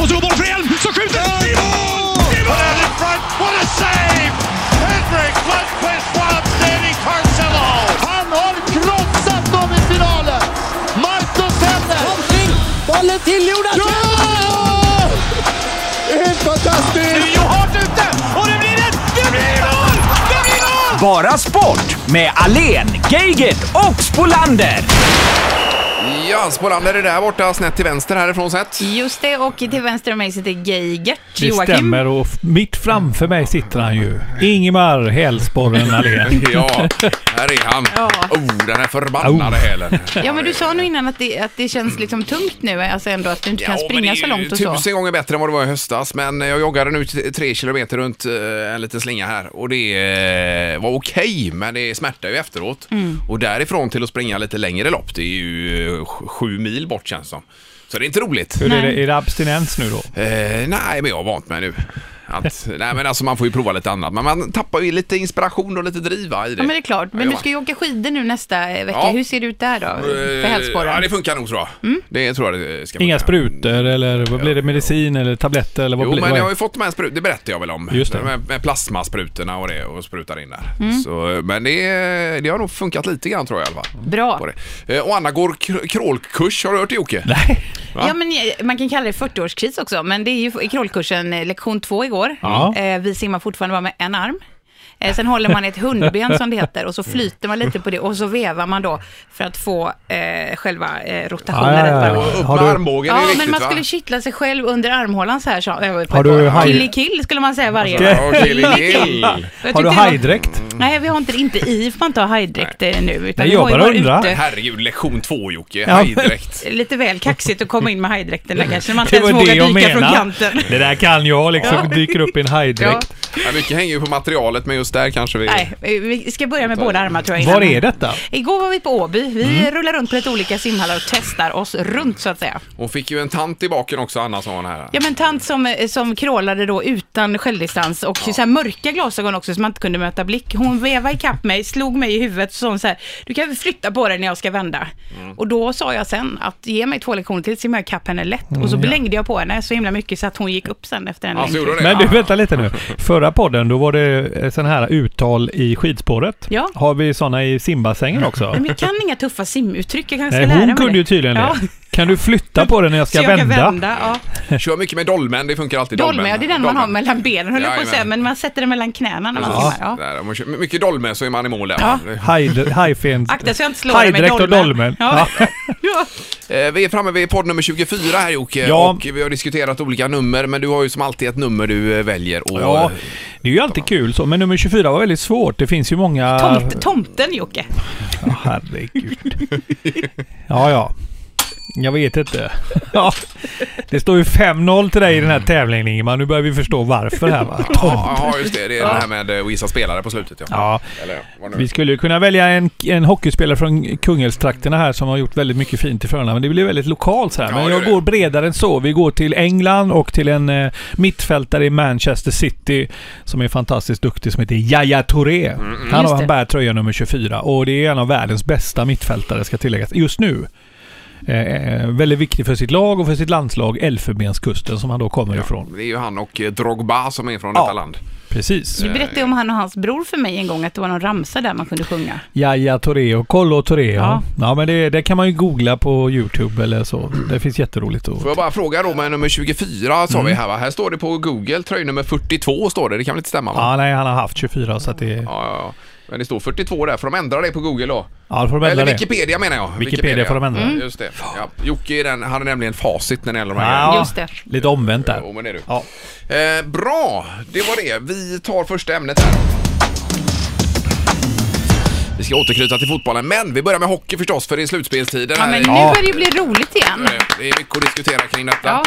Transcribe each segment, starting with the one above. Och så går bollen för Elm som skjuter! Det är mål! Det är mål! Put out in front. What a save! Henrik Lundqvist, while standing Carcelo. Han har krossat dem i finalen! Marcus Henner! Kontring! Bollen till Jonas! Helt Nu fantastiskt! är ju hårt ute och det blir ett... Det blir mål! Det blir mål! Bara sport med Alen, Geigert och Spolander. Ja, Spolander är där borta, snett till vänster härifrån sett. Just det, och till vänster om mig sitter Geigert. Det stämmer och f- mitt framför mig sitter han ju. Ingemar Hälsborren Allén. Ja, här är han. Ja. Oh, den här förbannade hälen. Ja, men du sa nog innan att det, att det känns liksom tungt nu, alltså ändå att du inte kan men springa det är så ju långt och så. Tusen gånger bättre än vad det var i höstas, men jag joggade nu t- tre kilometer runt eh, en liten slinga här och det eh, var okej, men det smärtar ju efteråt. Mm. Och därifrån till att springa lite längre lopp, det är ju eh, sj- sju mil bort känns som. Så det är inte roligt. Hur är det? Är det abstinens nu då? Eh, nej, men jag har vant mig nu. Att, nej, men alltså man får ju prova lite annat, men man tappar ju lite inspiration och lite driv va, i det. Ja, men det är klart. Men Ja, du ska ju åka skidor nu nästa vecka. Ja. Hur ser det ut där då? För Mm. Eh, Ja, hälsporren? det funkar nog tror jag. Det tror jag det ska Inga funka. sprutor eller vad blir det? Medicin eller tabletter eller vad Jo, blir men vad jag är- har ju fått de här sprutorna, det berättade jag väl om. Just det. Med, med plasmasprutorna och det och sprutar in där. Mm. Så, men det, det har nog funkat lite grann tror jag i alla fall. På Bra. det. Eh, Och Anna går kr- krålkurs, har du hört det Jocke? Nej. Va? Ja, men eh, man kan kalla det 40-årskris också, men det är ju i krollkursen eh, lektion två igår. Ja. Eh, Vi simmar fortfarande bara med en arm. Eh, Sen håller man ett hundben som det heter och så flyter man lite på det och så vevar man då för att få eh, själva eh, rotationen Ah, Ja, ja, ja. rätt varv. Och upp Har med du- armbågen, det Ja, är riktigt men man va? skulle kittla sig själv under armhålan så här. Så, eh, på Har ett du par- haj- kill, kill skulle man säga varje Ja, okej, det är kill. Jag Har du tyckte det var- hajdräkt? Nej, vi har inte, inte i, får man inte ha hajdräkt eh, nu. Utan Nej, vi jag har ju bara varit undrar. ute. Herregud, lektion två Jocke, Ja. hajdräkt. Lite väl kaxigt att komma in med hajdräkten där kanske, när man inte Det var ens det vågar jag dyka från menar. kanten. Det där kan jag liksom. Dyker upp i en Ja, hajdräkt. Ja, mycket hänger ju på materialet, men just där kanske vi... nej, vi ska börja med båda armar tror jag. Var innan. är Mm. detta? Igår var vi på Åby. Vi rullar runt på lite olika simhallar och testar oss runt så att säga. Hon fick ju en tant i baken också, Anna sa hon här. Ja men tant som, eh, som krålade då utan självdistans och så här mörka glasögon också så man inte kunde möta blick. Hon vevade ikapp mig, slog mig i huvudet och sa hon så här, du kan väl flytta på dig när jag ska vända. Mm. Och då sa jag sen att ge mig två lektioner till simmar jag ikapp henne lätt. Och så blängde jag på henne så himla mycket så att hon gick upp sen efter en Alltså, längd. Mm. gjorde hon det? Men du, vänta lite nu. Förra podden, då var det eh, sån här uttal i skidspåret. Ja. Har vi såna i simbassängen också? Men jag kan inga tuffa simuttryck, jag kanske Nej, ska lära mig hon kunde det. ju tydligen ja. det. Kan du flytta på den när jag Så ska jag kan vända? vända, ja. Kör mycket med dolmen, det funkar alltid. Dolmen, ja det är den man har Dolmen. mellan benen, höll jag på att säga, Jajamän. men man sätter den mellan knäna när man Ja. simmar. Ja. Där, om man kör mycket dolmen så är man i mål där. Ja. Hajd- hajfen- Akta så jag inte slår dig med Hajdräkt dolmen. och dolmen. Ja. Ja. Ja. Eh, Vi är framme vid podd nummer 24 här Jocke Ja. och vi har diskuterat olika nummer men du har ju som alltid ett nummer du eh, väljer. Och, Ja, det är ju alltid kul så. Men nummer 24 var väldigt svårt. Det finns ju många... Tomt, tomten Jocke. Ja, herregud. Ja, ja. Jag vet inte. Ja. Det står ju 5-0 till dig i den här tävlingen Ingemar. Nu börjar vi förstå varför här va? Tomt. Ja, ja, just det. Det är det här med eh, att gissa spelare på slutet. Ja. Ja, Eller, vad nu? vi skulle ju kunna välja en, en hockeyspelare från Kungälvstrakterna här som har gjort väldigt mycket fint i Frölunda. Men det blir väldigt lokalt så här. Ja, Men det jag gör det. går bredare än så. Vi går till England och till en eh, mittfältare i Manchester City som är fantastiskt duktig som heter Yahya Touré. Mm, Han, Just har, han det. bär tröja nummer 24 och det är en av världens bästa mittfältare ska tilläggas just nu. Eh, väldigt viktig för sitt lag och för sitt landslag Elfenbenskusten som han då kommer ifrån. Det är ju han och eh, Drogba som är från Ja. detta land. Precis. Du berättade om han och hans bror för mig en gång att det var någon ramsa där man kunde sjunga. Jaja Touré och Kollo Touré. Ja. Ja. ja, men det, det kan man ju googla på YouTube eller så. Det finns jätteroligt att... Får jag bara fråga då med nummer 24 sa vi här va? Här står det på Google, tröjnummer 42 står det. Det kan väl inte stämma va? Ja, nej, han har haft 24 så att det... Ja, ja, ja. Men det står 42 där, får de ändra det på Google då? Ja, då får de ändra Eller det. Wikipedia menar jag. Wikipedia får de ändra. Mm. Just det. Ja. Jocke är den, han är nämligen facit när det gäller de här Ja, Just det. Lite omvänt där. Jo, men det är du. Ja. Eh, bra, det var det. Vi tar första ämnet här. Vi ska återknyta till fotbollen, men vi börjar med hockey förstås för det är slutspelstiden. Ja, här i- men nu börjar det bli roligt igen. Eh, Det är mycket att diskutera kring detta.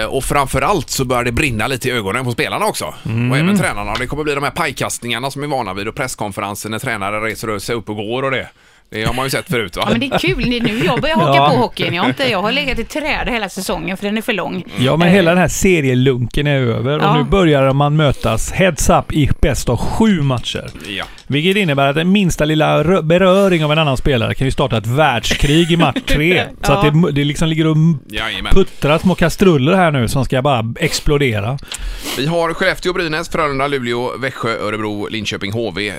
Eh, och framförallt så börjar det brinna lite i ögonen på spelarna också. Mm. Och även tränarna. Det kommer bli de här pajkastningarna som vi är vana vid och presskonferenser när tränare reser sig upp och går och det. Det har man ju sett förut va? Ja, men det är kul. Det är nu jag börjar haka Ja. på hockeyn. Jag har, inte, jag har legat i träd hela säsongen för den är för lång. Ja, men hela den här serielunken är över och Eh. Ja. nu börjar man mötas heads up i bäst av sju matcher. Ja. Vilket innebär att den minsta lilla rö- beröring av en annan spelare kan ju starta ett världskrig i match 3. Så att det, det liksom ligger och Jajamän. puttrar små kastruller här nu som ska bara explodera. Vi har Skellefteå, Brynäs, Frölunda, Luleå, Växjö, Örebro, Linköping, HV. Eh,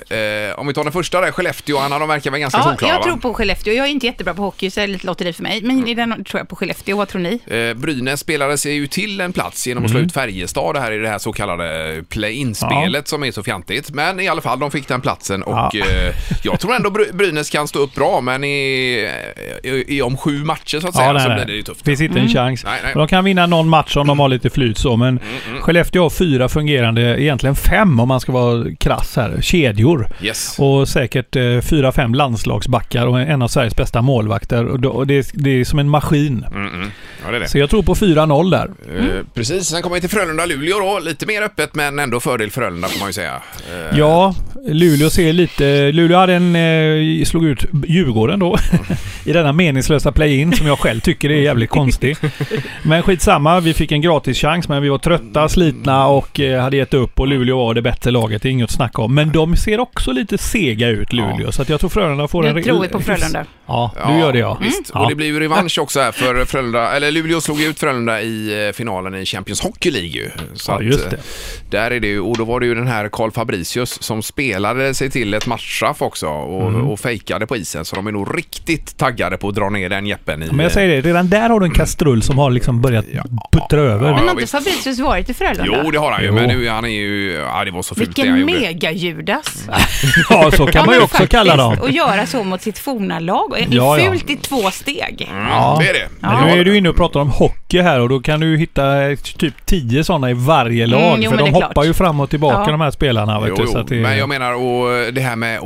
om vi tar den första där, Skellefteå, Anna, de verkar vara ganska Ja, solklara jag tror va? på Skellefteå. Jag är inte jättebra på hockey, så det är lite lotteri för mig. Men i den tror jag på Skellefteå. Vad tror ni? Eh, Brynäs spelade sig ju till en plats genom att slå ut Färjestad här i det här så kallade play-in-spelet som är så fjantigt. Men i alla fall, de fick den platsen och Ja. eh, jag tror ändå Bry- Brynäs kan stå upp bra, men i, i, i om sju matcher så att säga så blir det ju tufft. Finns inte en chans. Nej, Mm, nej. Men De kan vinna någon match om de har lite flyt så, men Skellefteå har fyra fungerande, egentligen fem om man ska vara krass här, kedjor. Yes. Och säkert eh, fyra, fem landslagsbackar och en av Sveriges bästa målvakter. Och då- och det, det är som en maskin. Mm. Ja, det är det. Så jag tror på 4-0 där. Mm. Eh, precis, sen kommer vi till Frölunda-Luleå då. Lite mer öppet men ändå fördel Frölunda får man ju säga. Eh, Ja, Luleå ser lite... Luleå hade en, eh, slog ut Djurgården då. I denna meningslösa play-in som jag själv tycker är jävligt konstig. Men skitsamma, vi fick en gratis chans men vi var Mm. trötta, slitna och eh, hade gett upp. Och Luleå var det bättre laget, det är inget att snacka om. Men de ser också lite sega ut, Luleå. Så att jag tror Frölunda får en... Nu re- tror vi på Frölunda. Ja, du gör det ja. Mm. Visst, Ja. och det blir ju revansch också här för Frölunda, eller Luleå slog ju ut Frölunda i eh, finalen i Champions Hockey League ju. Så Ja, att, just det. eh, Där är det ju, och då var det ju den här Carl Fabricius som spelade sig till ett matchstraff också och, Mm. och fejkade på isen. Så de är nog riktigt taggade på att dra ner den jeppen i... eh, Men jag säger det, redan där har du en kastrull som har liksom börjat puttra över. Men har inte visst. Fabricius varit i Frölunda? Jo, det har han ju, Jo. men nu, han är ju... Ja, det var så fult det han Vilken gjorde. mega-Judas! Ja, så kan man ju men också kalla dem. Och göra så mot sitt forna lag. Det är Ja, Mm. ja. fult i två steg. Ja, Mm, det är det. Men nu är du inne och pratar om hockey här och då kan du ju hitta eh, typ 10 sådana i varje lag. Mm, jo, för men de det är hoppar klart. ju fram och tillbaka Ja. de här spelarna. Vet Jo, du, jo. så att det, Men jag menar och eh, det här med att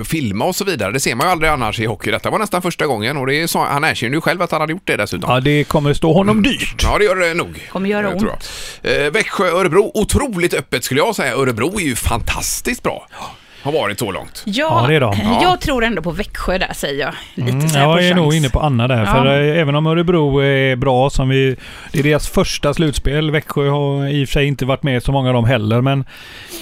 att filma och så vidare, det ser man ju aldrig annars i hockey. Detta var nästan första gången och det är så, han erkänner ju själv att han hade gjort det dessutom. ja, det kommer stå Mm. honom dyrt. Ja, det gör det nog. Kommer göra Eh, tror jag. Eh, Växjö, Örebro, otroligt öppet skulle jag säga. Örebro är ju fantastiskt bra. Har varit så långt. Ja, Ja, det är de. Jag tror ändå på Växjö där, säger jag. Lite så här Mm, på Jag är chans. nog inne på Anna där. Ja. För eh, även om Örebro är bra som vi... Det är deras första slutspel. Växjö har i och för sig inte varit med så många av dem heller. Men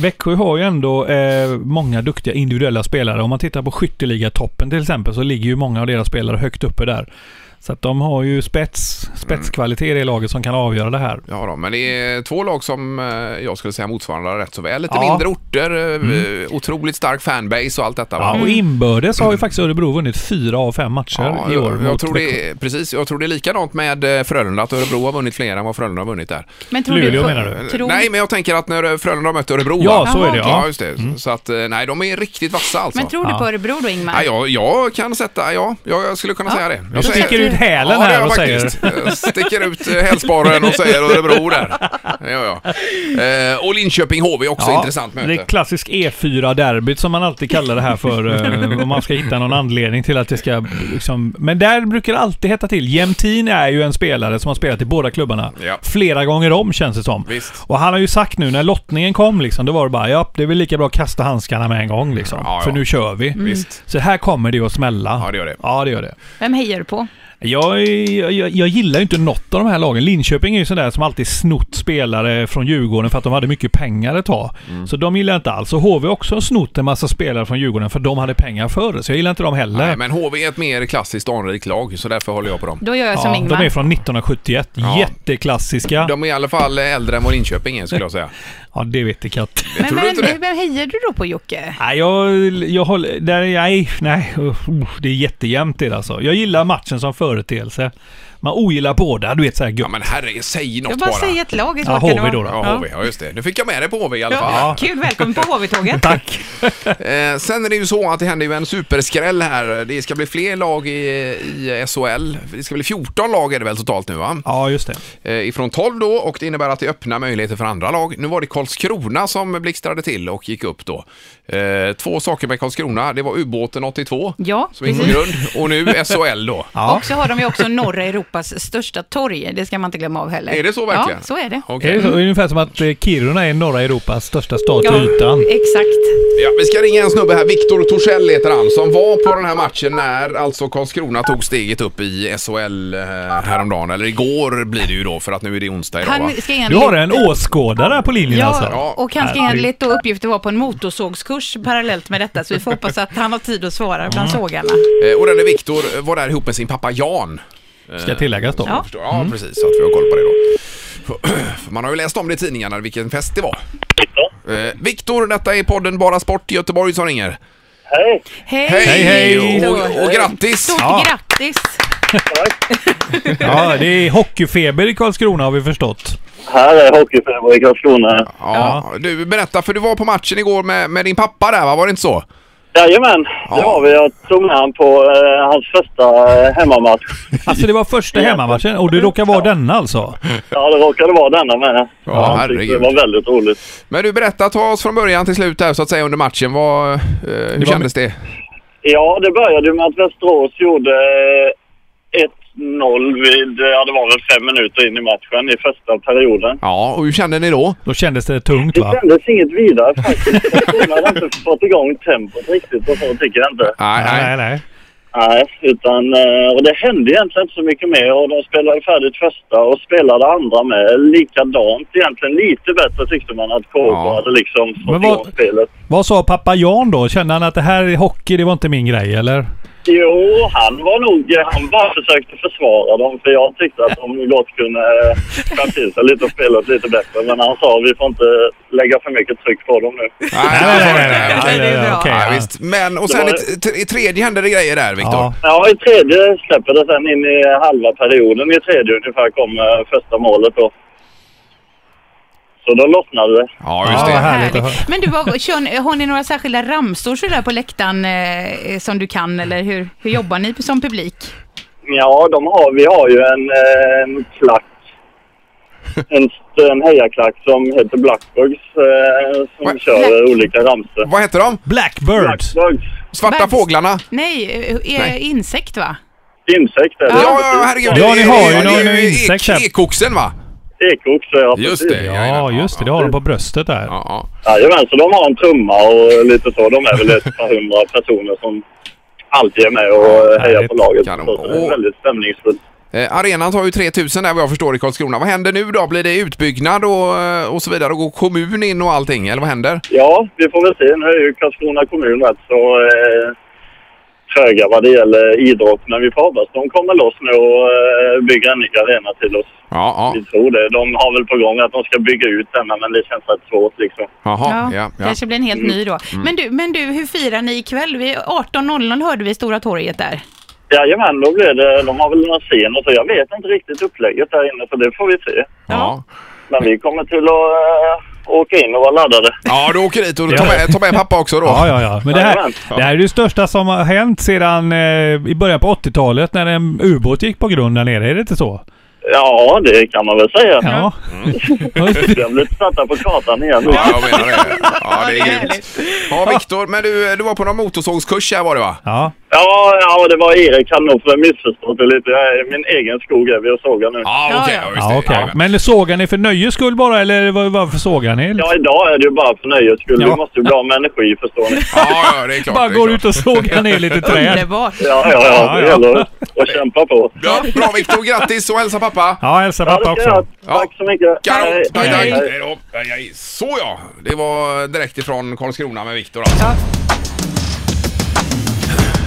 Växjö har ju ändå eh, många duktiga individuella spelare. Om man tittar på skytteligatoppen till exempel så ligger ju många av deras spelare högt uppe där. Så att de har ju spets, spetskvalitet i det laget som kan avgöra det här. Ja då, men det är två lag som eh, jag skulle säga motsvarar varandra rätt så väl. Lite Ja. Mm. mindre orter, eh, otroligt stark fanbase och allt detta. Ja, Va? Mm. och inbördes har ju faktiskt Örebro vunnit fyra av fem matcher Ja, i år. jag, jag, mot tror Växjö. det, är- precis, jag tror det är likadant med eh, Frölunda, att Örebro har vunnit fler än vad Frölunda har vunnit där. Men tror Luleå du på, menar du? Tror, Nej, men jag tänker att när Frölunda har mött Örebro Ja, va? så är det, Ja, ja. Mm. just det. Så att, eh, nej, de är riktigt vassa alltså. men tror du på Örebro då, Ingmar? Ja, jag, jag kan sätta, ja, jag, jag skulle kunna säga det. Du Jag sticker ut hälen det här gör och jag säger... faktiskt. Jag sticker ut eh, hälsbaren och säger Örebro där. Det gör jag. Eh, och Linköping-HV också, intressant möte. Det är klassisk E4-derbyt som man alltid kallar det här för. eh, om man ska hitta någon anledning till att det ska... Liksom, men där brukar det alltid hetta till. Jämtin är ju en spelare som har spelat i båda klubbarna. Ja. Flera gånger om känns det som. Visst. Och han har ju sagt nu när lottningen kom liksom, då var det bara ja, det är väl lika bra att kasta handskarna med en gång liksom. Ja, ja. För nu kör vi. Mm. Visst. Så här kommer det ju att smälla. Ja, det gör det. Ja, det gör det. Vem hejar du på? Jag, jag, jag- jag gillar ju inte något av de här lagen. Linköping är ju sådär som alltid snott spelare från Djurgården för att de hade mycket pengar ett tag. Mm. Så de gillar jag inte alls. Och HV har också snott en massa spelare från Djurgården för de hade pengar förr. Så jag gillar inte dem heller. Nej, men HV är ett mer klassiskt anrikt lag, så därför håller jag på dem. Då gör jag som ja, de Ingmar. är från 1971. Ja. Jätteklassiska. De är i alla fall äldre än vad Linköping är, skulle jag säga. Ja, det vet jag katt. men tror du vem, inte det? vem, hejar du då på, Jocke? Nej, jag, jag håller... Där, nej, nej. Uff, uff, det är jättejämnt det alltså. Jag gillar matchen som företeelse. Man ogillar båda. Du vet såhär Ja, gött. men herre, säg något Jag bara bara. säger ett lag. ett Ja, lag kan det HV vara. då då. Ja, HV, ja just det. Nu fick jag med dig på HV i alla fall. Ja, Kul, välkommen på HV-tåget. Tack! Eh, sen är det ju så att det händer ju en superskräll här. Det ska bli fler lag i, i SHL. Det ska bli 14 lag är det väl totalt nu va? Ja, just det. Eh, ifrån 12 då och det innebär att det öppnar möjligheter för andra lag. Nu var det Karlskrona som blixtrade till och gick upp då. Eh, två saker med Karlskrona. Det var ubåten 82 Ja, som gick på precis. grund och nu SHL då. Ja. Och så har de ju också norra Europa Europas största torg. Det ska man inte glömma av heller. Är det så verkligen? Ja, så är det. Det Okej. är så, ungefär som att eh, Kiruna är norra Europas största stad Ja, till ytan. Exakt. Ja, vi ska ringa en snubbe här, Viktor Torssell heter han, som var på den här matchen när alltså Karlskrona tog steget upp i SHL eh, häromdagen. Eller igår blir det ju då, för att nu är det onsdag idag va? Han ska enligt... Du har en åskådare på linjen Ja, alltså? Ja. och han ska Herregud. enligt då uppgifter vara på en motorsågskurs parallellt med detta, så vi får hoppas att han har tid att svara bland Mm. sågarna. Eh, Och den är Viktor var där ihop med sin pappa Jan. Ska tilläggas då. Ja. Förstår- Ja, precis. Så att vi har koll på det då. För- För man har ju läst om det i tidningarna vilken fest det var. Eh, Viktor, detta är podden Bara Sport i Göteborg som ringer. Hej! Hej! Hej, hej. Och, och grattis! Stort Ja. grattis! Ja, det är hockeyfeber i Karlskrona har vi förstått. Här är hockeyfeber i Karlskrona. Ja, du, berätta, för du var på matchen igår med, med din pappa där va? Var det inte så? Jajamän, det Ja. var vi. Jag tog med honom på eh, hans första eh, hemmamatch. Alltså det var första hemmamatchen och det råkar vara denna alltså? Ja, det råkade vara denna med. Ja, Jag tyckte herregud. Det var väldigt roligt. Men du, berätta, ta oss från början till slut här så att säga under matchen. Vad, eh, hur kändes det? Ja, det började ju med att Västerås gjorde eh, 1-0 vid, eh, ja det var väl fem minuter in i matchen i första perioden. Ja, och hur kände ni då? Då kändes det tungt Det va? kändes inget vidare faktiskt. Karlskrona hade inte fått igång tempot riktigt och så tycker jag inte. Nej, nej. nej. Nej, utan, eh, och det hände egentligen inte så mycket mer. Och de spelade färdigt första och spelade andra med likadant. Egentligen lite bättre tyckte man att KK Ja. hade liksom Men fått vad- igång spelet. Vad sa pappa Jan då? Kände han att det här är hockey, det var inte min grej eller? Jo, han var nog... Han bara försökte försvara dem för jag tyckte att de gott kunde eh, ta till sig lite och spela lite bättre. Men han sa vi får inte lägga för mycket tryck på dem nu. Nej, nej, nej. det är bra. okej, Ja, ja. visst. Men, och sen Det i, var- t- i tredje hände det grejer där, Viktor. Ja. Ja, i tredje släpper det sen in i halva perioden. I tredje ungefär kom eh, första målet då. Så då lossnade det. Ja, just Ja, det. vad härligt att höra. Men du, vad- kör, ni- har ni några särskilda ramsor sådär på läktaren eh, som du kan, eller hur, hur jobbar ni som publik? Ja, de har, vi har ju en, eh, en klack. En, st- en hejaklack som heter Blackbugs eh, som Vad- kör eh, olika ramsor. Vad hette de? Blackbird. Blackbugs. Svarta Världs- fåglarna? Nej, eh, eh, Nej. insekt va? Insekt är det. Ja, ja, herregud. Ja, ni har ju Det är någon ek- insekt här. Ekoxen, va? Ekoxe, ja precis. Just det. Ja, just det. Det har de på bröstet där. Ja, ja. Jajamän, så de har en trumma och lite så. De är väl ett par hundra personer som alltid är med och eh, hejar Härligt. på laget. Kanon. Så det är Och- väldigt stämningsfullt. Eh, arenan tar ju 3000 där vad jag förstår i Karlskrona. Vad händer nu då? Blir det utbyggnad och, eh, och så vidare? Och går kommun in och allting? Eller vad händer? Ja, vi får väl se. Nu är ju Karlskrona kommun rätt så eh, tröga vad det gäller idrott. Men vi får hoppas de kommer loss nu och eh, bygger en ny arena till oss. Ja, ja. Vi tror det. De har väl på gång att de ska bygga ut denna, men det känns rätt svårt liksom. Jaha, ja. Mm. ja. Kanske blir en helt ny då. Men, du, men du, hur firar ni ikväll? Vi- 18.00 hörde vi i Stora torget där. Jajamän, då blir det... De har väl någon scen och så. Jag vet inte riktigt upplägget där inne, så det får vi se. ja. Men vi kommer till att eh, åka in och vara laddade. Ja, du åker dit och tar med, tar med pappa också då. Ja, ja, ja. Men det här, Jajamän. det här är det största som har hänt sedan eh, i början på 80-talet när en ubåt gick på grund där nere. Är det inte så? Ja, det kan man väl säga. Ja. Jag blev satt på kartan igen. Ja, jag menar det. Ja, det Ja, det är är grymt. Ja, Viktor, men du, du var på någon motorsågskurs här var det va? ja. Ja, ja, det var Erik han nog för missförstått det lite. Jag är i min egen skog är vi och sågar nu. Ja, okej. Ja, ja. ja, just det. ja okej. Jajamän. Men sågar ni för nöjes skull bara eller var- varför sågar ni? Ja, idag är det ju bara för nöjes skull. Ja. Vi måste ju bli av med energi, förstår ni. Ja, ja, det är klart. Bara det är går klart. ut och sågar ner lite träd. Underbart! Ja, ja, Ja, ja. Det ja. gäller att- att kämpa på. Ja, bra Viktor, grattis och hälsa pappa! Ja, hälsa Ja, pappa det ska jag. också. Tack så mycket. Kanon! Hej. Tack, tack. Hej. Hej då. Hej, hej. Så ja, det var direkt ifrån Karlskrona med Viktor alltså.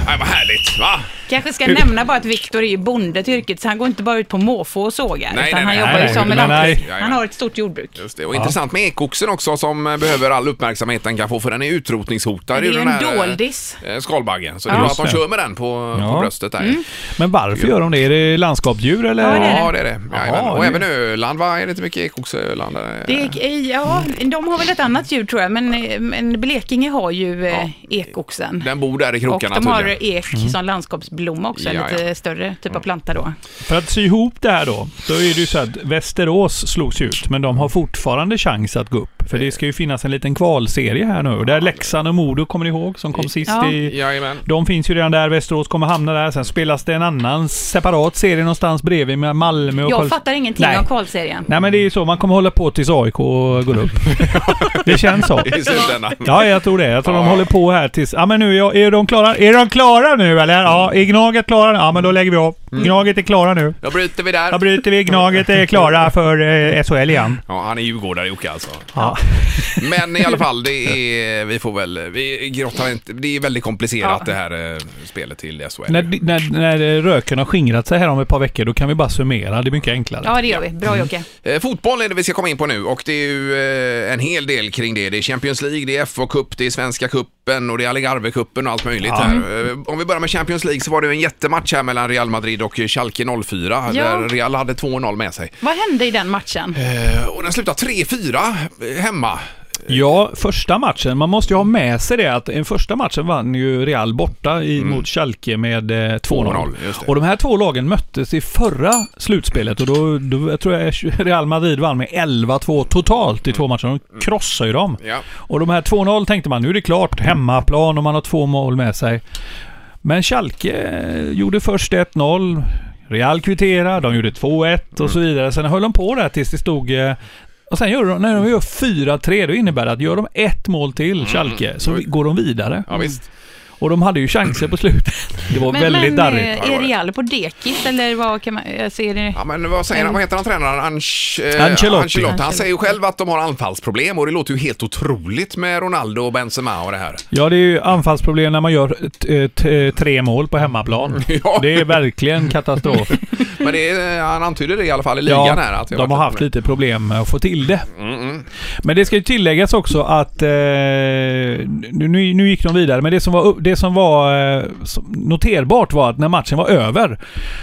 Nej, vad härligt va? Kanske ska nämna bara att Viktor är ju bonde till yrket, så han går inte bara ut på måfå och sågar, Nej, utan nej, han nej, jobbar nej, ju som en nej, nej. lantbruk. Han har ett stort jordbruk. Just det. Och intressant med ekoxen också som eh, behöver all uppmärksamhet den kan få för den är utrotningshotad. Det är ur ju den en här, eh, doldis. eh, Skalbaggen. Så det är bra att Just de det. kör med den på, på Ja. Mm. bröstet där. Men varför gör de det? Är det landskapsdjur eller? Ja, det är Ja, det är det. Jajamän. Jaha, och det- även Öland, va? Är det inte mycket ekoxe Öland? eh? Det är, ja, de har väl ett annat djur tror jag, men, men Blekinge har ju eh, ekoxen. Den bor där i Och krokarna de har tydligen. större ek som landskapsblomma också, en Ja, lite större typ av planta då. För att sy ihop det här då, då är det ju så att Västerås slogs ut, men de har fortfarande chans att gå upp. För det ska ju finnas en liten kvalserie här nu. Och Där Leksand och Modo, kommer ni ihåg, som kom sist Ja. i... Jajamän. De finns ju redan där, Västerås kommer hamna där. Sen spelas det en annan separat serie någonstans bredvid med Malmö och Jag Karls- fattar ingenting Nej. av kvalserien. Nej men det är ju så, man kommer hålla på tills AIK går upp. det känns så. I slutändan. Ja, jag tror det. Jag tror de Ja. håller på här tills... Ja, men nu är jag- är de klara. Är de klara nu eller? Ja, är Gnaget klara nu? Ja, men då lägger vi av. Gnaget är klara nu. Då bryter vi där. Då bryter vi. Gnaget är klara för eh, SHL igen. Ja, han är djurgårdare Jocke alltså. Ja. Men i alla fall, det är, vi får väl, vi grottar inte, det är väldigt komplicerat det här eh, spelet till SHL. När, när, när röken har skingrat sig här om ett par veckor, då kan vi bara summera. Det är mycket enklare. Ja, det gör vi. Bra Jocke. Eh, fotboll är det vi ska komma in på nu och det är ju eh, en hel del kring det. Det är Champions League, det är FA Cup, det är Svenska Cupen och det är Algarve-cupen och allt möjligt här. Eh, om vi börjar med Champions League så var det ju en jättematch här mellan Real Madrid och Schalke 04 Ja. där Real hade 2-0 med sig. Vad hände i den matchen? Eh, och den slutade 3-4 hemma. Ja, första matchen. Man måste ju ha med sig det att den första matchen vann ju Real borta i, mot Schalke med eh, 2-0. 2-0, just det. Och de här två lagen möttes i förra slutspelet och då, då jag tror jag Real Madrid vann med 11-2 totalt i två matcher. De krossar ju dem. Ja. Och de här 2-0 tänkte man, nu är det klart. Hemmaplan och man har två mål med sig. Men Schalke eh, gjorde först 1-0. Real kvitterade, de gjorde 2-1 och Mm. så vidare. Sen höll de på där tills det stod... eh, Och sen gör de, när de gör 4-3, då innebär det att gör de ett mål till, Schalke, så vi- går de vidare. Mm. Ja, visst. Och de hade ju chanser på slutet. Det var Men, väldigt men darrigt. eh, är Real på dekis eller vad kan man... Alltså, är det... Ja, men vad säger han? Vad heter han tränaren? Anch, eh, Ancelotti. Han Ancelotti. säger ju själv att de har anfallsproblem och det låter ju helt otroligt med Ronaldo och Benzema och det här. Ja, det är ju anfallsproblem när man gör t- eh, t- tre mål på hemmaplan. Ja. Det är verkligen katastrof. Men det är, eh, han antyder det i alla fall i ligan här. Att det de har varit Mm, haft lite problem med att få till det. Men det ska ju tilläggas också att eh, nu, nu nu gick de vidare, men det som var, upp- det som var eh, som noterbart var att när matchen var över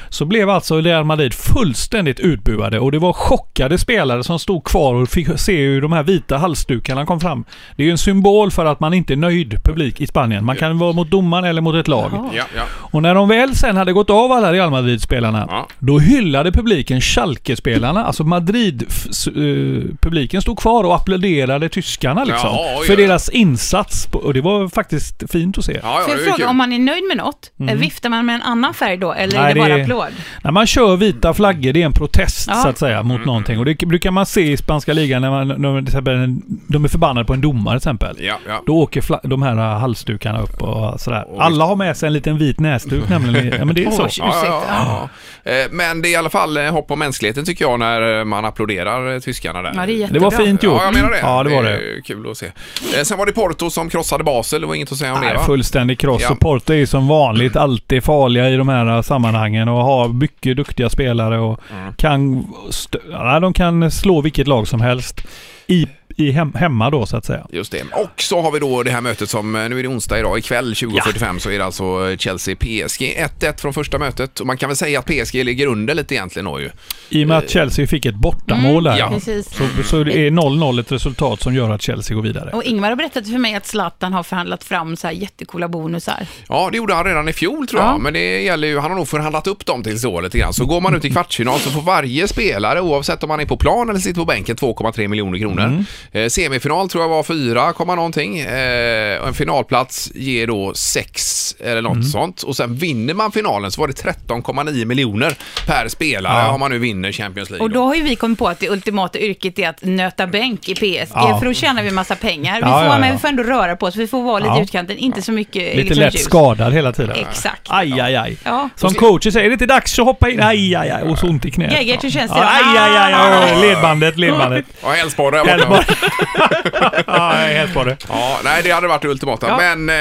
så blev alltså Real Madrid fullständigt utbuade och det var chockade spelare som stod kvar och fick se hur de här vita halsdukarna kom fram. Det är ju en symbol för att man inte är nöjd publik i Spanien. Man kan vara mot domaren eller mot ett lag. Ja, ja. Och när de väl sen hade gått av alla Real Madrid-spelarna, Ja. då hyllade publiken Schalke-spelarna. Alltså Madrid-publiken stod kvar och applåderade tyskarna liksom. Jaha, oj, för oj. deras insats. på- Och det var faktiskt fint att se. Ja, ja, Får det är jag ju fråga, kul. om man är nöjd med något, eh, viftar man med en annan färg då eller Mm. Nej, är det bara det är- applåd? När man kör vita flaggor, det är en protest Ja. så att säga Mm. mot någonting. Och det brukar man se i spanska ligan när man, när man till exempel, de är förbannade på en domare till exempel. Ja, ja. Då åker fla- de här äh, halsdukarna upp och sådär. Alla har med sig en liten vit näsduk nämligen. Ja, men det är så. Oj. Ja, ja, Ursäkta. ja, ja. Eh, Men det är i alla fall eh, hopp om mänskligheten tycker jag när eh, man applåderar eh, tyskarna där. Ja, det är Det var jättebra. fint gjort. Ja, jag menar det. Ja, det var det. är Kul att se. Eh, Sen var det Porto som krossade Basel, det var inget att säga om det Nej, va? fullständig kross. Ja. Och Porto är ju som vanligt alltid farliga i de här sammanhangen och har mycket duktiga spelare och Mm. kan... Stö- ja, de kan slå vilket lag som helst. I, i hem- hemma då så att säga. Just det. Och så har vi då det här mötet som, eh, nu är det onsdag idag, ikväll 20.45 så är det alltså Chelsea-PSG. 1-1 från första mötet och man kan väl säga att PSG ligger under lite egentligen då ju. I och med att Chelsea fick ett bortamål där. Eh. Mm, ja. Precis. Eh. Så, så det är 0-0 ett resultat som gör att Chelsea går vidare. Och Ingvar har berättat för mig att Zlatan har förhandlat fram så här jättekola bonusar. Ja, det gjorde han redan i fjol tror jag, men det gäller ju, han har nog förhandlat upp dem till så lite grann. Så går man ut i kvartsfinal så får varje spelare, oavsett om man är på plan eller sitter på bänken, 2,3 miljoner kronor. Mm. Eh, semifinal tror jag var 4, komma någonting. Eh, och en finalplats ger då 6 eller något Mm. sånt. Och sen vinner man finalen så var det 13,9 miljoner per spelare om man nu vinner Champions League. Och då har ju vi kommit på att det ultimata yrket är att nöta bänk i PSG, Ja. för då tjänar vi massa pengar. Vi får, Ja, ja, ja. Men vi får ändå röra på oss, vi får vara lite i Ja. utkanten, inte så mycket liksom Lite lätt skadad hela tiden. Exakt. Aj, aj, aj. Ja. Som coacher säger, är det inte dags att hoppa in? Aj, aj, aj. Och så ont i knät. Geigert, hur känns det? Ah! Ja, aj, aj, aj, aj. Ledbandet, ledbandet. Ja, Elfsborg där borta. Elfsborg. ja, helt på det. Ja, nej, det hade varit det ultimata. Men eh,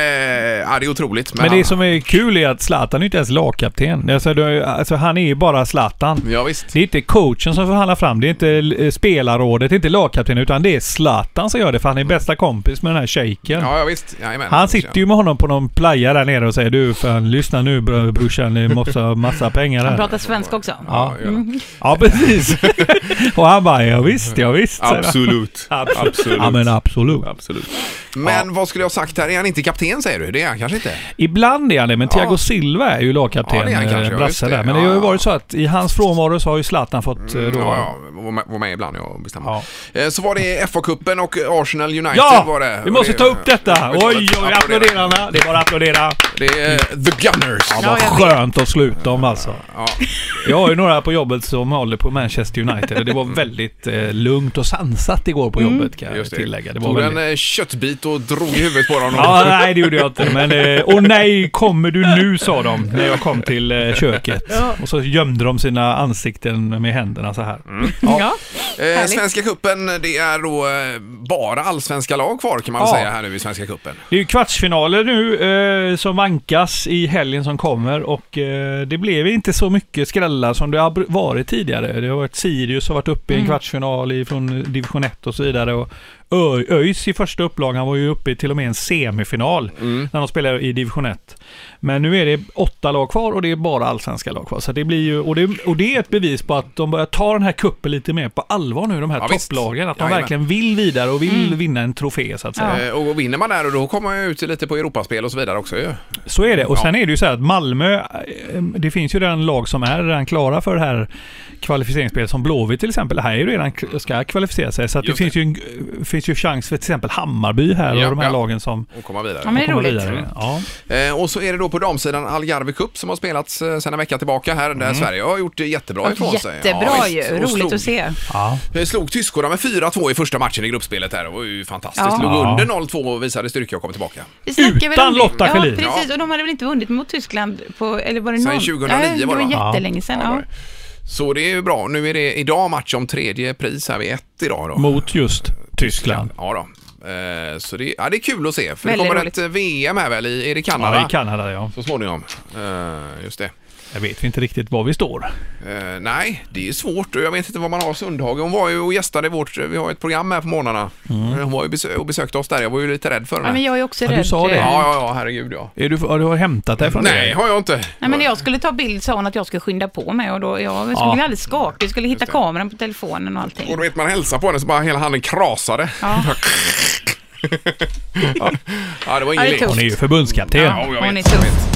ja, det är otroligt. Men han- det som är kul är att Zlatan är inte ens lagkapten. Alltså, det- alltså han är ju bara Zlatan. Ja, visst. Det är inte coachen som förhandlar fram, det är inte eh, spelarrådet, det är inte lagkaptenen, utan det är Zlatan som gör det för han är bästa kompis med den här shejken. Ja, ja, visst. Jajamän. Han sitter ju med honom på någon playa där nere och säger du fan lyssna nu br- brorsan, ni måste ha massa pengar Han här. pratar svenska också. Ja, ja. Ja precis. och han bara ja visst, ja visst. säger han. Absolut. Absolut. Absolut. Ja men absolut. Absolut. Men vad skulle jag ha sagt här? Är han inte kapten säger du? Det är han kanske inte? Ibland är han det, men Ja. Thiago Silva är ju lagkapten, Ja, det är han kanske, eh, ja, Brasse just det. där. Men det har Ja. Mm, ju varit så att i hans frånvaro så har ju Zlatan fått eh, då... Ja, ja, var med, var med ibland jag bestämmer. Ja. Eh, Så var det FA-cupen och Arsenal United Ja! var det. Vi Och måste det- ta upp detta! Vi Oj, måste oj, oj, applåderarna! Det är bara att applådera. Det är eh, The Gunners. Vad skönt att sluta om alltså. Ja. Jag har ju några på jobbet som håller på Manchester United och det var väldigt eh, lugnt och sansat igår på jobbet kan jag Mm. Just det. tillägga. Det var Tog en väldigt... eh, köttbit och drog i huvudet på honom. Ja, nej det gjorde jag inte. Men, eh, åh nej, kommer du nu sa de när jag kom till eh, köket. Och så gömde de sina ansikten med händerna så här. Ja. Eh, Härligt. Svenska cupen, det är då eh, bara allsvenska lag kvar kan man väl Ja. säga här nu i Svenska cupen. Det är ju kvartsfinaler nu eh, som vankas i helgen som kommer och eh, det blev inte så mycket skrällar som det har br- varit tidigare. Det har varit Sirius som varit uppe i en kvartsfinal från division 1 och så vidare. Och Ö- ÖIS i första upplagan var ju uppe i till och med en semifinal Mm. när de spelade i division 1. Men nu är det åtta lag kvar och det är bara allsvenska lag kvar. Så det blir ju, och, det, och det är ett bevis på att de börjar ta den här kuppen lite mer på allvar nu, de här Ja, visst. topplagen. Att de Jajamän. verkligen vill vidare och vill vinna en trofé så att säga. Eh, Och vinner man där och då kommer man ju ut lite på Europaspel och så vidare också ju. Så är det. Och sen är det ju så här att Malmö, eh, det finns ju redan lag som är redan klara för det här kvalificeringsspelet. Som Blåvitt till exempel, här är ju redan k- ska kvalificera sig. Så att det Just det. finns ju, en, finns ju chans för till exempel Hammarby här Ja, och de här ja. lagen som Och komma vidare. Ja, men det är kommer roligt. vidare. Ja. Eh, och så är det då på damsidan Algarve Cup som har spelats eh, sedan en vecka tillbaka här där Sverige har gjort det jättebra ifrån sig. Mm. Jättebra ju, visst. Och roligt slog, att se. Ja. eh, slog tyskorna med 4-2 i första matchen i gruppspelet här. Det var ju fantastiskt. Ja. Låg Ja. under 0-2 och visade styrka och kom tillbaka. Vi snackar väl Utan om- Lotta Ja, Schelin. precis. Och de hade väl inte vunnit mot Tyskland på, eller var det Sen någon? 2009 Ja, var det, det va? var jättelänge sedan. Ja, det var Ja, det. Så det är ju bra. Nu är det idag match om tredje pris här vid ett idag då. Mot just Tyskland. Ja då. Eh, Så det, ja, det är kul att se. För det Väldigt kommer roligt. ett eh, VM här väl? I, är det Kanada? Ja, i Kanada ja. Så småningom. Eh, Just det. Jag vet inte riktigt var vi står. Eh, nej, det är svårt och jag vet inte vad man har Sundhage. Hon var ju och gästade vårt, vi har ju ett program här på morgnarna. Hon var ju besö- och besökte oss där, jag var ju lite rädd för henne. Mm. Ja, men jag är också Ja, du rädd. sa det. Ja, ja, ja, herregud ja. Är du, har du hämtat dig från Nej, det? har jag inte. Nej, men när jag skulle ta bild sa hon att jag skulle skynda på mig och då, jag skulle alldeles skaka. Jag skulle hitta kameran på telefonen och allting. Och då vet man hälsa på henne så bara hela handen krasade. Ja. Ja, det var Ja, ingen det är lek. Hon är ju förbundskapten. Ja, jag Hon är vet. tuff.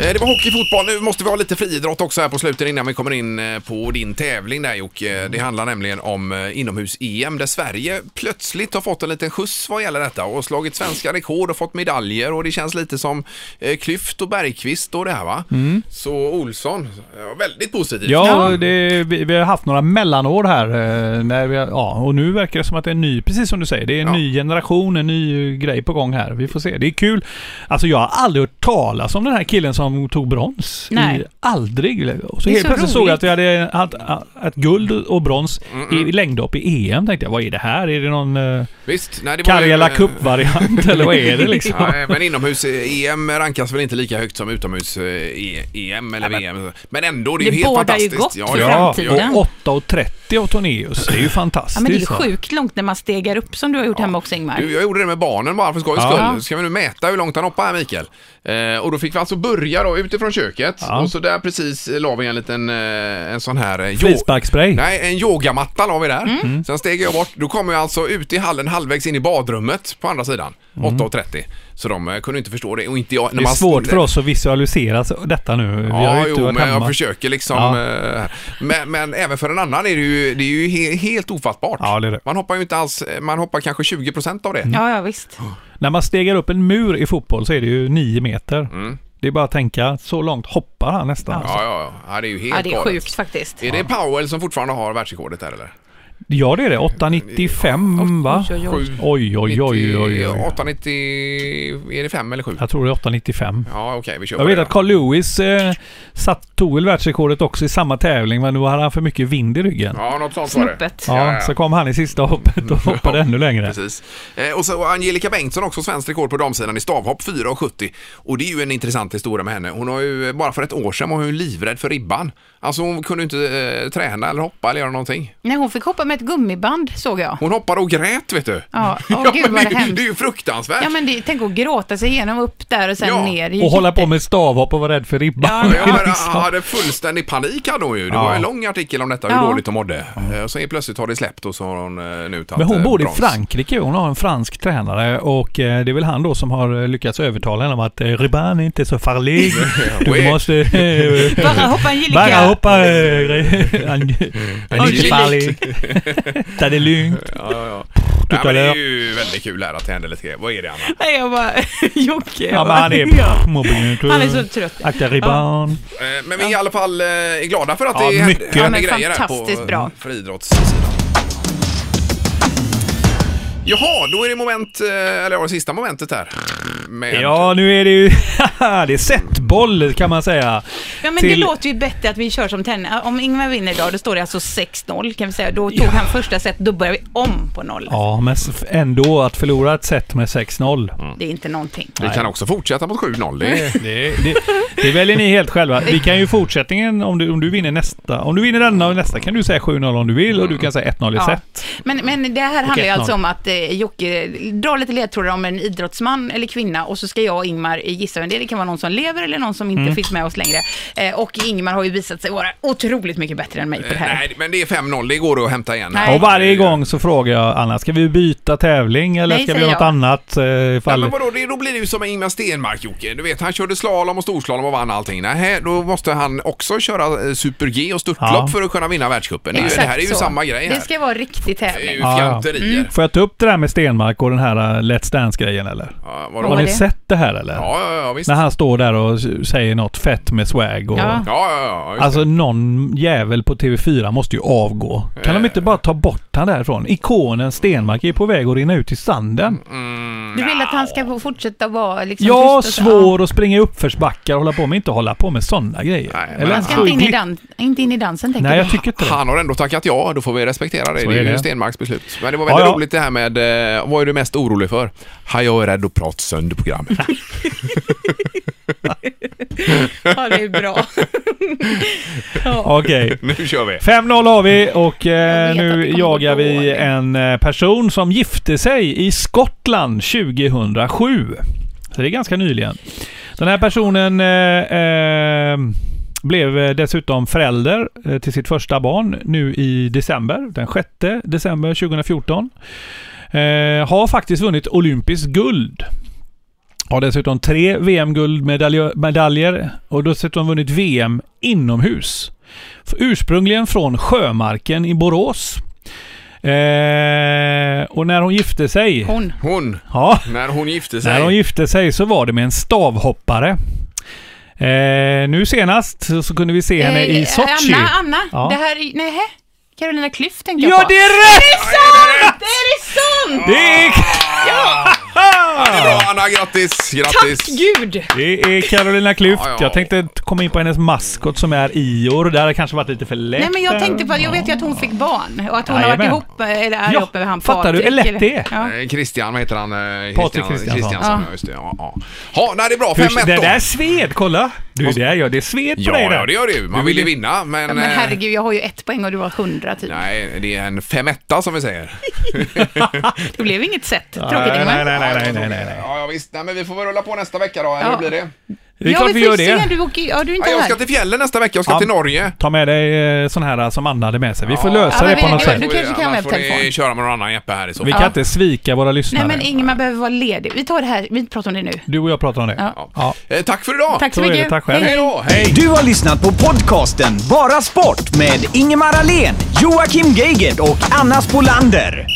Eh, Det var hockey, fotboll. Nu måste vi ha lite friidrott också här på slutet innan vi kommer in eh, på din tävling där Jocke. Mm. Eh, Det handlar nämligen om eh, inomhus-EM där Sverige plötsligt har fått en liten skjuts vad gäller detta och slagit svenska rekord och fått medaljer och det känns lite som eh, Klyft och Bergqvist och det här va? Så Olsson, eh, väldigt positivt. Mm. Ja, det, vi, vi har haft några mellanår här. eh, När vi, har- ja, och nu verkar det som att det är en ny, precis som du säger, det är en Ja. ny generation, en ny eh, grej på gång här. Vi får se. Det är kul. Alltså jag har aldrig hört talas om den här killen som tog brons. Nej. I, aldrig. Och så Det är helt så plötsligt såg jag roligt. att vi hade haft äh, ett guld och brons Mm, i längdhopp i EM. Tänkte jag, vad är det här? Är det någon eh, Visst, nej, det var ju, Karjala eh, Cup-variant eller vad är det liksom? Nej, men inomhus-EM rankas väl inte lika högt som utomhus-EM eller VM. Men ändå, det är ju Det helt bådar ju fantastiskt. gott för Ja, framtiden. och 8.30 av Tornéus. Det är ju Ja, men det är ju fantastiskt. va? sjukt långt när man stegar upp som du har gjort hemma också Ingmar. Du, jag gjorde det med barnen bara för skojs Ja. skull. Ska vi nu mäta hur långt han hoppar här Mikael? Eh, och då fick vi alltså börja då utifrån köket Ja. och så där precis eh, la vi en liten eh, en sån här... Eh, yo- Frisparksspray. Nej, en yogamatta la vi där. Mm. Sen steg jag bort. Då kom jag alltså ut i hallen halvvägs in i badrummet på andra sidan. 8.30. Så de eh, kunde inte förstå det och inte jag. Mm. Det är svårt för oss att visualisera så- detta nu. Vi har Ja, ju inte jo, varit men hemma. jag försöker liksom. Ja. eh, Men, men även för en annan är det ju, det är ju he, helt ofattbart. Ja, det är det. Man hoppar ju inte alls, man hoppar kanske 20% av det. Ja, ja visst. När man stegar upp en mur i fotboll så är det ju nio meter. Det är bara att tänka, så långt hoppar han nästan. Ja, Ja, ja, ja. ja det är ju helt Ja, det är galet. sjukt faktiskt. Är det Powell som fortfarande har världsrekordet där eller? det är det. 8,95 va? Oj, oj, Sju. Oj, oj, oj, oj. oj. 890... Är det 5 eller 7? Jag tror det är 8,95. Ja, okej, vi kör Jag på vet det att då. Carl Lewis eh, satt, tog väl världsrekordet också i samma tävling, men nu hade han för mycket vind i ryggen. Ja, något sånt var det. Snuppet. Ja, Ja, ja. så kom han i sista hoppet och hoppade ännu längre. Precis. Eh, och så Angelica Bengtsson också, svenskt rekord på damsidan i stavhopp, eh, 4,70. Och det är ju en intressant historia med henne. Hon har ju, bara för ett år sedan var hon ju livrädd för ribban. Alltså hon kunde inte eh, träna eller hoppa eller göra någonting. Nej, hon fick hoppa med ett gummiband såg jag. Hon hoppade och grät vet du. Ja, åh gud men vad det, hemskt. det är ju fruktansvärt. Ja men det, tänk att gråta sig igenom upp där och sen Ja, ner. Det är Och hålla på jätte- med stavhopp och vara rädd för ribban. Ja, Ja, men Det är liksom- han hade fullständig panik hade hon ju. Det var ju en lång artikel om detta, hur Ja. dåligt hon mådde. Eh, Och sen helt plötsligt har det släppt och så har hon eh, nu tagit Men hon eh, bor i brons. Frankrike. Hon har en fransk tränare och eh, det är väl han då som har eh, lyckats övertala henne om att eh, ribban är inte så farlig. Oui. Du måste... eh, Bara hoppa Angelica. Bara hoppa... eh, Mm. an- Den är inte farlig. Ta det lugnt. Ja, ja, ja. Du Nej, men talar- det är ju väldigt kul här att det händer lite grejer. Vad är det Anna? Nej jag bara, Jocke. Ja, jag men bara- han Ja. är... mobbing. Han är så trött. Akta ribban. Eh, Men vi är i alla fall eh, är glada för att Ja, det händer, mycket. händer Ja, men grejer här på eh, fantastiskt bra. friidrottssidan. Jaha, då är det moment, eh, eller ja, det sista momentet här. Med, Ja, nu är det ju... det är setboll kan man säga. Ja men det Till- låter ju bättre att vi kör som tennis. Om Ingvar vinner idag, då står det alltså 6-0 kan vi säga. Då tog han första set, då börjar vi om på noll. Ja, men s- ändå att förlora ett set med 6-0. Det är inte någonting. Vi kan också fortsätta mot 7-0. Det är- Det, det, det väljer ni helt själva. Vi kan ju i fortsättningen, om du, om du vinner nästa, om du vinner denna och nästa kan du säga 7-0 om du vill och du kan säga 1-0 i Ja. set. Men, men det här handlar ju 1-0. alltså om att eh, Jocke drar lite ledtrådar om en idrottsman eller kvinna och så ska jag och Ingmar eh, gissa vem det är. Det kan vara någon som lever eller någon som inte Mm. finns med oss längre. Eh, och Ingmar har ju visat sig vara otroligt mycket bättre än mig på det här. Eh, Nej, men det är 5-0. Det går att hämta igen. Nej. Och varje gång så frågar jag Anna, ska vi byta tävling eller Nej, ska vi säger göra något jag. annat? eh, Nej, Ifall... men vadå, det, då blir det ju som med Ingemar Stenmark Jocke. Du vet, han körde slalom och storslalom och vann allting. Nej, då måste han också köra eh, super-G och störtlopp Ja. för att kunna vinna världscupen. Det, är ju- det här är ju så. samma grej här. Det ska Mm. vara riktig Det är ju tävling. Ja, ja. fjanterier. Får jag ta upp det där med Stenmark och den här eh, Let's Dance-grejen eller? Ja, Vad Har vadå? var ni det? sett det här eller? Ja, ja, ja, visst. När Ja, han står där och s- säger något fett med swag och... Ja. ja, ja, just Alltså någon jävel på TV4 måste ju avgå. Kan Eh. de inte bara ta bort han därifrån? Ikonen Stenmark är på väg att rinna ut i sanden. Du vill att han ska få fortsätta vara liksom Ja, tyst och så- svår att springa i uppförsbackar och hålla på med inte hålla på med sådana grejer. Nej, men Eller Han han ska inte in, i skit. dan- inte in i dansen tänker Nej, du? jag tycker inte det. Han har ändå tackat ja, då får vi respektera det. Så det är är ju det. Stenmarks beslut. Men det var väldigt Ja, ja. roligt det här med, eh, vad är du mest orolig för? Ha, jag är rädd att prata sönder programmet. Ja, det är bra. Okej. nu kör vi. 5-0 har vi och eh, Jag vet att nu det kommer jagar gå vi dåligt. en eh, person som gifte sig i Skottland 2007. Så det är ganska nyligen. Den här personen eh, eh, blev eh, dessutom förälder eh, till sitt första barn nu i december, den 6 december 2014. Eh, har faktiskt vunnit olympiskt guld. Har dessutom tre VM-guldmedaljer och dessutom vunnit VM inomhus. F- Ursprungligen från Sjömarken i Borås. Eh, och när hon gifte sig... Hon. Hon, Ja, när hon gifte sig. när hon gifte sig så var det med en stavhoppare. Eh, nu senast så- så kunde vi se henne i Eh, Sochi. Anna, Anna. Ja. Det här är... Nej, Carolina Klüft tänkte Ja, jag på. det är rätt! sant! Är det sant? Det är, Bra Anna, grattis! grattis. Tack gud! det är Carolina Klüft. Ja, ja. Jag tänkte komma in på hennes maskot som är Ior. Det här har kanske varit lite för lätt. eh. Nej men jag tänkte på att jag vet ju att hon fick barn och att hon har Jajamän. varit ihop eller är Ja, ihop med han fattar du hur lätt det är? Ja. Eh, Christian, vad heter han? Eh, Patrik Christian- Christiansson. Christiansson, ja. just det. Ja, ja. ja nej, det är bra. Hur, 5-1 det då. där sved, kolla! Du, det, är, ja, det är sved på Ja, dig där. ja, det gör det ju. Man vill ju vinna, men... Ja, Men eh, herregud, jag har ju ett poäng och du har hundra typ. Nej, det är en femetta som vi säger. Det blev inget sätt. Tråkigt Nej, nej, Ingmar. nej, nej, nej, nej, nej. Ja, ja, visst. Nej, men vi får väl rulla på nästa vecka då, eller Ja. hur blir det? Det är Ja, klart vi vi får gör se. det. Du, åker, ja, du är Ja, inte jag här. ska till fjällen nästa vecka. Jag ska Ja. till Norge. Ta med dig eh, sån här som Anna hade med sig. Vi får lösa Ja, det men på vi- något du- sätt. du- kanske kan Annars med får på ni telefon. köra med någon annan Jeppe här i så Vi fall. kan inte svika våra lyssnare. Nej men Ingmar behöver vara ledig. Vi tar det här, vi pratar om det nu. Du och jag pratar om det. Ja. Ja. Eh, Tack för idag! Tack så, Så är det. mycket. Tack själv. Hej då! Hej! Du har lyssnat på podcasten Bara Sport med Ingemar Ahlén, Joakim Geigert och Anna Spolander.